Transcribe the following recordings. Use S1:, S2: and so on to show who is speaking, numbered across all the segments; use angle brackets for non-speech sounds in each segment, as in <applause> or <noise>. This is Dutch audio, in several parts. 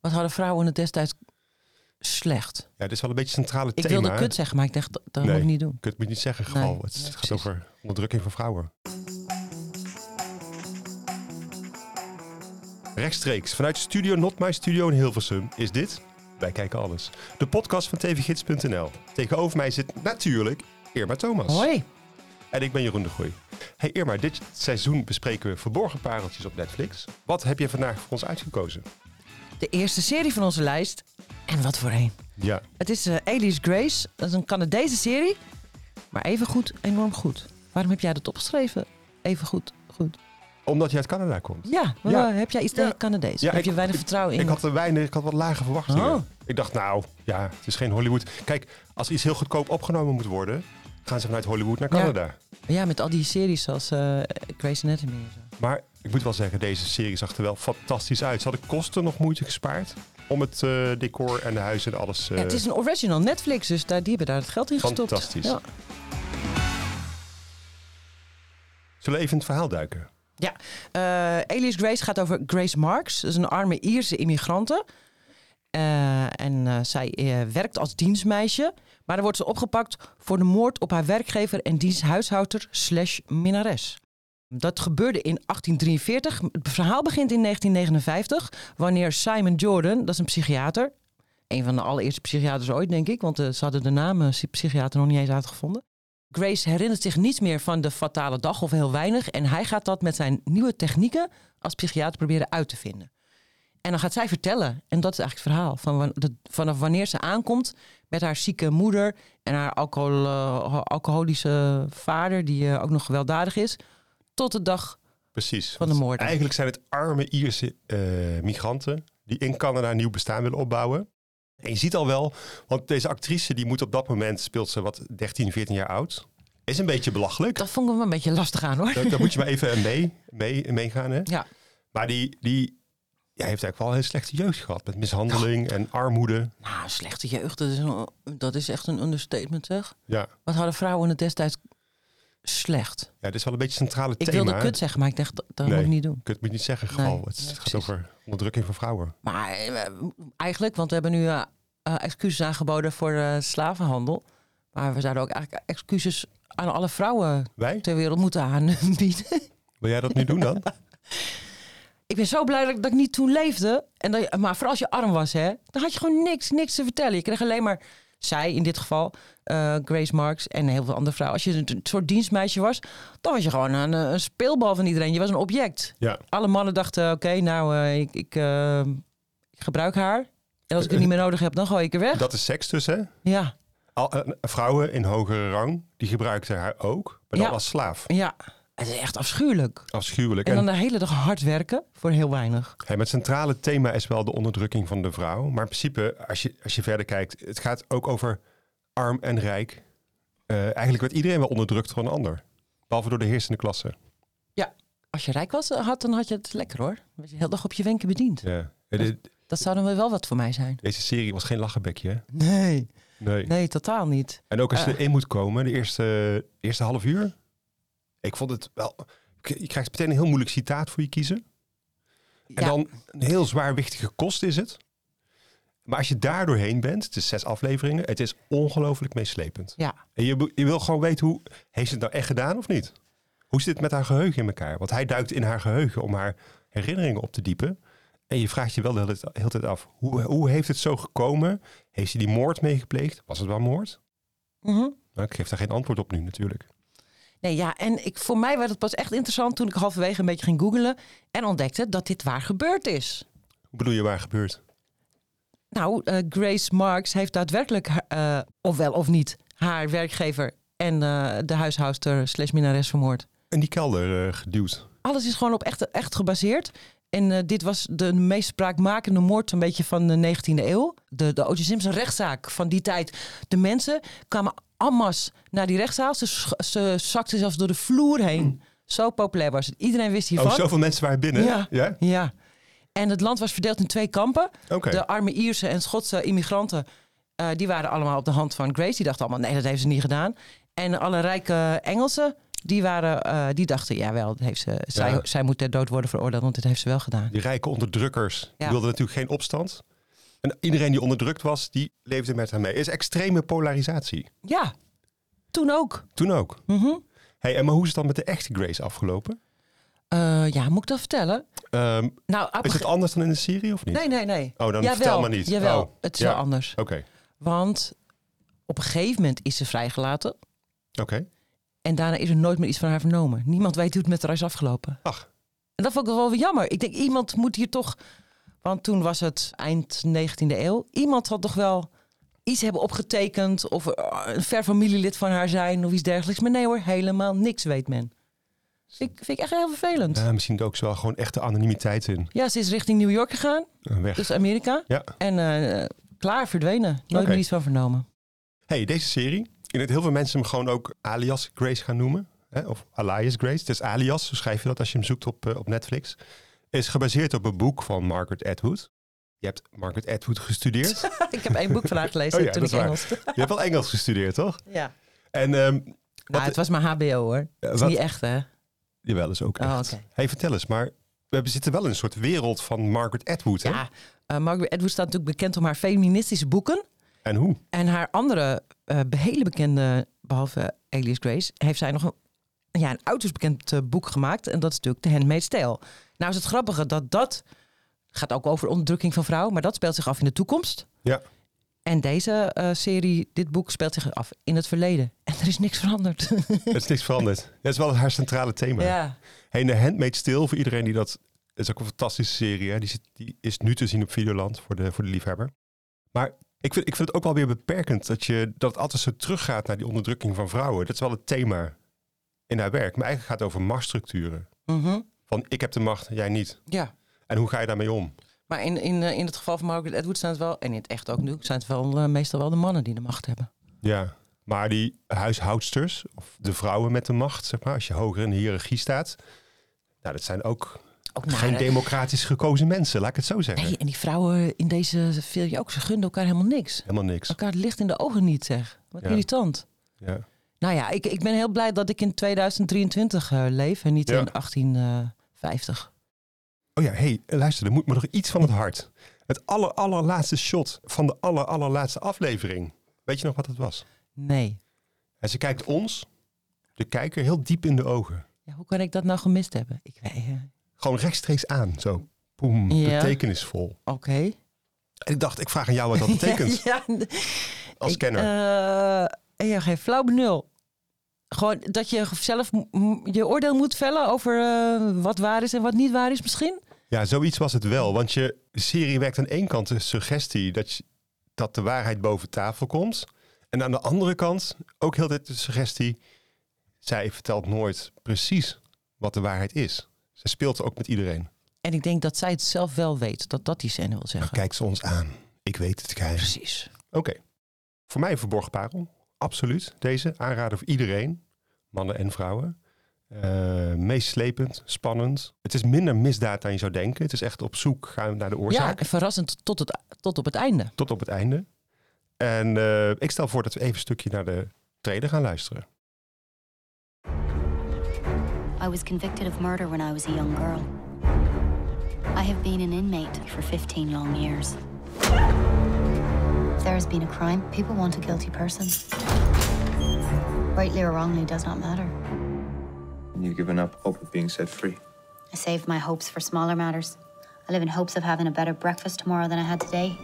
S1: Wat hadden vrouwen het destijds slecht?
S2: Ja, dit is wel een beetje het centrale
S1: Ik
S2: thema.
S1: wilde
S2: hè?
S1: kut zeggen, maar ik dacht, dat, dat
S2: Nee.
S1: moet ik niet doen.
S2: Kut moet je niet zeggen,
S1: Nee,
S2: geval. het
S1: nee,
S2: gaat
S1: precies.
S2: over onderdrukking van vrouwen. Rechtstreeks vanuit Studio Not My Studio in Hilversum is dit Wij Kijken Alles. De podcast van tvgids.nl. Tegenover mij zit natuurlijk Irma Thomas.
S1: Hoi.
S2: En ik ben Jeroen de Gooi. Hey Irma, dit seizoen bespreken we verborgen pareltjes op Netflix. Wat heb je vandaag voor ons uitgekozen?
S1: De eerste serie van onze lijst. En wat voor een.
S2: Ja,
S1: Het is eh, Alias Grace. Dat is een Canadese serie. Maar even goed, enorm goed. Waarom heb jij dat opgeschreven? Even goed, goed.
S2: omdat je uit Canada komt.
S1: Ja, wel,
S2: Ja.
S1: eh, heb jij iets
S2: Ja.
S1: tegen Canadees?
S2: Ja,
S1: heb
S2: ik-
S1: je weinig vertrouwen in?
S2: Ik had er weinig, ik had wat lage verwachtingen.
S1: Oh.
S2: Ik dacht, nou, ja, het is geen Hollywood. Kijk, als iets heel goedkoop opgenomen moet worden, gaan ze vanuit Hollywood naar
S1: Ja.
S2: Canada.
S1: Ja, met al die series zoals eh Grace Anatomy en zo.
S2: Maar ik moet wel zeggen, deze serie zag er wel fantastisch uit. Ze hadden kosten nog moeite gespaard om het eh, decor en de huizen en alles. eh,
S1: Ja, het is een original Netflix, dus daar, die hebben daar het geld in gestopt.
S2: Fantastisch.
S1: Ja.
S2: eh, Zullen we even in het verhaal duiken?
S1: Eh, Alias Grace gaat over Grace Marks. Dat is een arme Ierse immigrante. Eh, en eh, zij eh, werkt als dienstmeisje. Maar dan wordt ze opgepakt voor de moord op haar werkgever en diensthuishouder slash minnares. Dat gebeurde in 1843. Het verhaal begint in 1959, wanneer Simon Jordan, dat is een psychiater, een van de allereerste psychiaters ooit, denk ik, want eh, ze hadden de naam eh, psychiater nog niet eens uitgevonden. Grace herinnert zich niets meer van de fatale dag of heel weinig. En hij gaat dat met zijn nieuwe technieken als psychiater proberen uit te vinden. En dan gaat zij vertellen, en dat is eigenlijk het verhaal, van wan- dat- vanaf wanneer ze aankomt met haar zieke moeder en haar alcohol, eh, alcoholische vader, die eh, ook nog gewelddadig is, tot de dag
S2: Precies.
S1: van de
S2: Want
S1: moord.
S2: Eigenlijk zijn het arme Ierse eh, migranten die in Canada een nieuw bestaan willen opbouwen. En je ziet al wel, want deze actrice die moet op dat moment, speelt ze wat 13, 14 jaar oud. Is een beetje belachelijk.
S1: Dat vond ik hem een beetje lastig aan hoor.
S2: Daar, daar moet je maar even eh, mee, mee, meegaan. Hè?
S1: <laughs> Ja.
S2: Maar die, die ja, heeft eigenlijk wel een hele slechte jeugd gehad. Met mishandeling en armoede.
S1: Nou, slechte jeugd, dat is, een- dat is echt een understatement zeg.
S2: Ja.
S1: Wat hadden vrouwen het destijds slecht?
S2: ja, dit is wel een beetje het centrale
S1: Ik
S2: thema.
S1: wilde
S2: hè?
S1: kut zeggen, maar ik dacht, dat, dat
S2: Nee.
S1: moet ik niet doen.
S2: Kut moet je niet zeggen,
S1: Nee,
S2: geval. het
S1: nee,
S2: gaat
S1: precies.
S2: over onderdrukking van vrouwen.
S1: Maar eh, eigenlijk, want we hebben nu eh, eh, excuses aangeboden voor eh, slavenhandel. Maar we zouden ook eigenlijk excuses aan alle vrouwen
S2: Wij?
S1: ter wereld moeten aanbieden. <laughs>
S2: Wil jij dat nu doen dan?
S1: Ik ben zo blij dat ik, dat ik niet toen leefde. En dat, je- maar vooral als je arm was, hè, dan had je gewoon niks, niks te vertellen. Je kreeg alleen maar zij, in dit geval, eh, Grace Marks en heel veel andere vrouwen. Als je een soort dienstmeisje was, dan was je gewoon een, eh, een speelbal van iedereen. Je was een object.
S2: Ja.
S1: alle mannen dachten, oké, nou, eh, ik, ik, eh, ik gebruik haar. En als ik het niet meer nodig heb, dan gooi ik er weg.
S2: Dat is seks dus, hè?
S1: Ja,
S2: Al, eh, vrouwen in hogere rang, die gebruikten haar ook. Maar dan
S1: Ja.
S2: als slaaf.
S1: ja. Het is echt afschuwelijk.
S2: Afschuwelijk.
S1: En
S2: En,
S1: dan de hele dag hard werken voor heel weinig.
S2: hey, maar het centrale thema is wel de onderdrukking van de vrouw. Maar in principe, als je, als je verder kijkt, het gaat ook over arm en rijk. Eh, eigenlijk werd iedereen wel onderdrukt door een ander. Behalve door de heersende klasse.
S1: Als je rijk was, eh, had, dan had je het lekker hoor. Dan Was je de hele dag op je wenken bediend.
S2: Ja. Eh, de-
S1: Dat zou dan wel wat voor mij zijn.
S2: Deze serie was geen lachenbekje, hè?
S1: Nee,
S2: Nee. Ah.
S1: nee, totaal niet.
S2: En ook als je
S1: Eh.
S2: erin moet komen, de eerste, eerste half uur. Ik vond het wel... Je krijgt meteen een heel moeilijk citaat voor je kiezen. En
S1: ja,
S2: dan een heel zwaarwichtige kost is het. Maar als je daar doorheen bent, het is zes afleveringen, het is ongelooflijk meeslepend.
S1: ja.
S2: En je, be- je wil gewoon weten, hoe heeft ze het nou echt gedaan of niet? Hoe zit het met haar geheugen in elkaar? Want hij duikt in haar geheugen om haar herinneringen op te diepen. En je vraagt je wel de hele, de hele tijd af, hoe, hoe heeft het zo gekomen? Heeft ze die moord meegepleegd? Was het wel moord?
S1: Mhm.
S2: Nou, ik geef daar geen antwoord op nu natuurlijk.
S1: Nee, ja, en ik, voor mij werd het pas echt interessant toen ik halverwege een beetje ging googelen en ontdekte dat dit waar gebeurd is.
S2: Hoe bedoel je waar gebeurt?
S1: Nou, eh, Grace Marks heeft daadwerkelijk, haar- eh ofwel of niet, haar werkgever en eh, de huishoudster slash minnares vermoord.
S2: In die kelder eh, geduwd.
S1: Alles is gewoon op echt, echt gebaseerd. En eh, dit was de meest spraakmakende moord een beetje van de 19e eeuw. De, de O.J. Simpson rechtszaak van die tijd. De mensen kwamen ammas naar die rechtszaal. Ze, sch- ze zakten zelfs door de vloer heen. Zo populair was het. Iedereen wist hiervan.
S2: Oh, zoveel mensen waren binnen?
S1: Ja. Ja. En het land was verdeeld in twee kampen.
S2: Oké.
S1: De arme Ierse en Schotse immigranten, eh, die waren allemaal op de hand van Grace. Die dachten allemaal, nee, dat heeft ze niet gedaan. En alle rijke Engelsen, Die, waren, eh, die dachten, ja wel, dat heeft ze, zij, zij moet ter dood worden veroordeeld, want dit heeft ze wel gedaan.
S2: Die rijke onderdrukkers die
S1: Ja.
S2: wilden natuurlijk geen opstand. En iedereen die onderdrukt was, die leefde met haar mee. Het is extreme polarisatie.
S1: Ja, toen ook.
S2: Toen ook.
S1: Mhm.
S2: Hey, en maar hoe is het dan met de echte Grace afgelopen?
S1: Eh, ja, moet ik dat vertellen?
S2: Ehm,
S1: Nou, op een
S2: is het
S1: ge-
S2: anders dan in de serie of niet?
S1: Nee, nee, nee.
S2: Oh, dan
S1: Jawel,
S2: vertel maar niet.
S1: Jawel,
S2: Oh,
S1: het is
S2: ja.
S1: wel anders.
S2: Oké,
S1: Want op een gegeven moment is ze vrijgelaten.
S2: oké.
S1: En daarna is er nooit meer iets van haar vernomen. Niemand weet hoe het met haar is afgelopen.
S2: Ach.
S1: En dat vond ik wel weer jammer. Ik denk, iemand moet hier toch... Want toen was het eind 19e eeuw. Iemand had toch wel iets hebben opgetekend... of eh, een ver familielid van haar zijn of iets dergelijks. Maar nee hoor, helemaal niks weet men. Vind ik, vind ik echt heel vervelend. Ja.
S2: Ja, misschien ook wel gewoon echte anonimiteit in.
S1: ze is richting New York gegaan.
S2: Eh, Weg.
S1: Dus Amerika.
S2: Ja.
S1: En eh, klaar, verdwenen. Nooit
S2: Oké.
S1: meer iets van vernomen. <laughs>
S2: Hey, deze serie. Ik denk dat heel veel mensen hem gewoon ook alias Grace gaan noemen. Hè? Of alias Grace. Het is alias, zo schrijf je dat als je hem zoekt op, eh, op Netflix. Is gebaseerd op een boek van Margaret Atwood. Je hebt Margaret Atwood
S1: <laughs>
S2: gestudeerd.
S1: ik heb één boek van haar gelezen
S2: Oh ja,
S1: toen
S2: dat
S1: ik
S2: is waar.
S1: Engels...
S2: <laughs> je hebt wel Engels gestudeerd, toch?
S1: Ja.
S2: En ehm,
S1: Nou, het was maar HBO hoor. Het
S2: eh,
S1: is
S2: wat...
S1: niet echt hè?
S2: Jawel, is ook echt.
S1: Oh, oké.
S2: Hey, vertel eens, maar we zitten wel in een soort wereld van Margaret Atwood, hè?
S1: Ja, eh, Margaret Atwood staat natuurlijk bekend om haar feministische boeken.
S2: En hoe?
S1: En haar andere eh, hele bekende, behalve Alias Grace, heeft zij nog een, ja, een uiterst bekend eh, boek gemaakt. En dat is natuurlijk The Handmaid's Tale. Nou is het grappige dat dat gaat ook over onderdrukking van vrouwen, maar dat speelt zich af in de toekomst.
S2: Ja.
S1: En deze eh, serie, dit boek, speelt zich af in het verleden. En er is niks veranderd.
S2: Het is niks veranderd. Dat is wel haar centrale thema.
S1: <laughs> ja.
S2: Hey, de Handmaid's Tale, voor iedereen die dat... Het is ook een fantastische serie. Hè? Die, zit, die is nu te zien op Videoland voor de, voor de liefhebber. Maar ik vind, ik vind het ook wel weer beperkend dat, je, dat het altijd zo teruggaat naar die onderdrukking van vrouwen. Dat is wel het thema in haar werk. Maar eigenlijk gaat het over machtsstructuren.
S1: Mhm.
S2: Van ik heb de macht, jij niet.
S1: ja.
S2: En hoe ga je daarmee om?
S1: Maar in, in, eh, in het geval van Margaret Atwood zijn het wel, en in het echt ook nu, zijn het wel eh, meestal wel de mannen die de macht hebben.
S2: Ja. Maar die huishoudsters, of de vrouwen met de macht, zeg maar, als je hoger in de hiërarchie staat. Nou, dat zijn ook
S1: Ook
S2: geen
S1: nare-
S2: democratisch gekozen mensen, laat ik het zo zeggen.
S1: Nee, en die vrouwen in deze serie ook, ze gunden elkaar helemaal niks.
S2: Helemaal niks.
S1: Elkaar het licht in de ogen niet, zeg. Wat
S2: Ja.
S1: irritant.
S2: Ja.
S1: Nou ja, ik, ik ben heel blij dat ik in 2023 eh, leef en niet
S2: Ja.
S1: in eh, 1850.
S2: Oh ja, hey, luister, er moet me nog iets van het hart. Het aller, allerlaatste shot van de aller, allerlaatste aflevering. Weet je nog wat het was?
S1: Nee.
S2: En ze kijkt ons, de kijker, heel diep in de ogen.
S1: Ja, hoe kan ik dat nou gemist hebben? Ik weet eh,
S2: Gewoon rechtstreeks aan, zo. Poem,
S1: Ja.
S2: betekenisvol.
S1: Oké. <laughs>
S2: En ik dacht, ik vraag aan jou wat dat betekent
S1: ja, ja,
S2: als
S1: ik,
S2: kenner.
S1: eh, ja, geen flauw benul. Gewoon dat je zelf m- m- je oordeel moet vellen over eh, wat waar is en wat niet waar is misschien.
S2: Ja, zoiets was het wel. Want je serie werkt aan één kant de suggestie dat, je- dat de waarheid boven tafel komt. En aan de andere kant ook heel dit de suggestie, zij vertelt nooit precies wat de waarheid is. Ze speelt ook met iedereen.
S1: En ik denk dat zij het zelf wel weet, dat dat die scène wil
S2: Dan
S1: zeggen.
S2: kijkt ze ons aan. Ik weet het, Keizer.
S1: Precies.
S2: Oké. Voor mij een verborgen parel. Absoluut. Deze aanraden voor iedereen. Mannen en vrouwen. Eh, meeslepend, spannend. Het is minder misdaad dan je zou denken. Het is echt op zoek gaan naar de oorzaak.
S1: Ja, en verrassend tot, het, tot op het einde.
S2: tot op het einde. En eh, ik stel voor dat we even een stukje naar de trailer gaan luisteren.
S3: I was convicted of murder when I was a young girl. I have been an inmate for 15 long years. If there has been a crime, people want a guilty person. Rightly or wrongly does not matter.
S4: and you've given up hope of being set free.
S3: I save my hopes for smaller matters. I live in hopes of having a better breakfast tomorrow than I had today.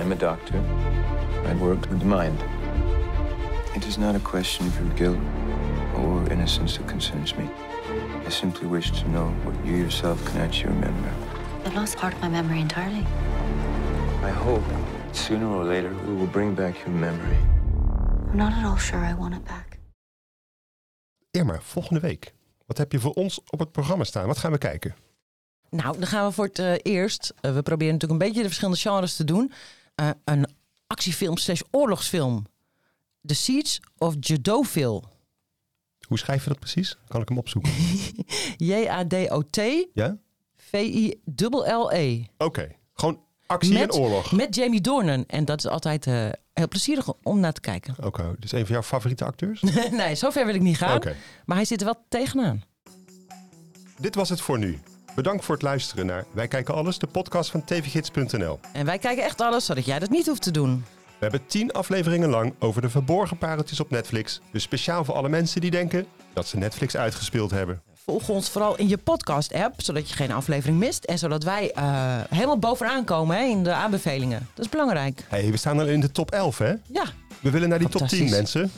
S4: I'm a doctor. I work with the mind. It is not a question of your guilt or innocence that concerns me. I simply wish to know what you yourself can actually remember.
S3: I've lost part of my memory entirely.
S4: I hope sooner or later we will bring back your memory.
S3: I'm not at all sure I want it back.
S2: Irma, volgende week. Wat heb je voor ons op het programma staan? Wat gaan we kijken?
S1: Nou, dan gaan we voor het eh, eerst. eh, we proberen natuurlijk een beetje de verschillende genres te doen. Eh, een actiefilm slash oorlogsfilm. The Siege of Jadoville.
S2: Hoe schrijf je dat precies? Kan ik hem opzoeken?
S1: J-A-D-O-T
S2: ja?
S1: V-I-L-L-E.
S2: Oké. Gewoon actie
S1: E. Met-
S2: en oorlog.
S1: Met Jamie Dornan. En dat is altijd eh, heel plezierig om naar te kijken. <laughs>
S2: Oké, dus een van jouw favoriete acteurs?
S1: nee, zover wil ik niet gaan.
S2: Oké.
S1: Maar hij zit er wel tegenaan.
S2: Dit was het voor nu. Bedankt voor het luisteren naar Wij Kijken Alles, de podcast van tvgids.nl.
S1: En wij kijken echt alles, zodat jij dat niet hoeft te doen.
S2: We hebben tien afleveringen lang over de verborgen pareltjes op Netflix. Dus speciaal voor alle mensen die denken dat ze Netflix uitgespeeld hebben.
S1: Volg ons vooral in je podcast-app, zodat je geen aflevering mist. En zodat wij eh, helemaal bovenaan komen hè, in de aanbevelingen. Dat is belangrijk.
S2: hey, we staan al in de top 11, hè?
S1: Ja.
S2: We willen naar die top 10,
S1: Fantastisch.
S2: mensen.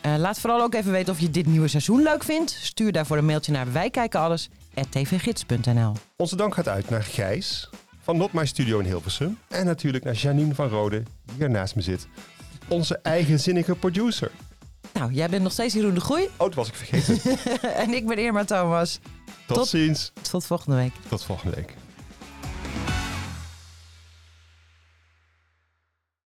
S1: Eh, laat vooral ook even weten of je dit nieuwe seizoen leuk vindt. Stuur daarvoor een mailtje naar wijkijkenalles.tvgids.nl
S2: Onze dank gaat uit naar Gijs van Not My Studio in Hilversum. En natuurlijk naar Janine van Rode, die hier naast me zit. Onze eigenzinnige producer.
S1: Nou, jij bent nog steeds Jeroen de Groei. <laughs>
S2: Oh, dat was ik vergeten.
S1: en ik ben Irma Thomas.
S2: Tot,
S1: Tot-
S2: ziens.
S1: Tot volgende week.
S2: Tot volgende week.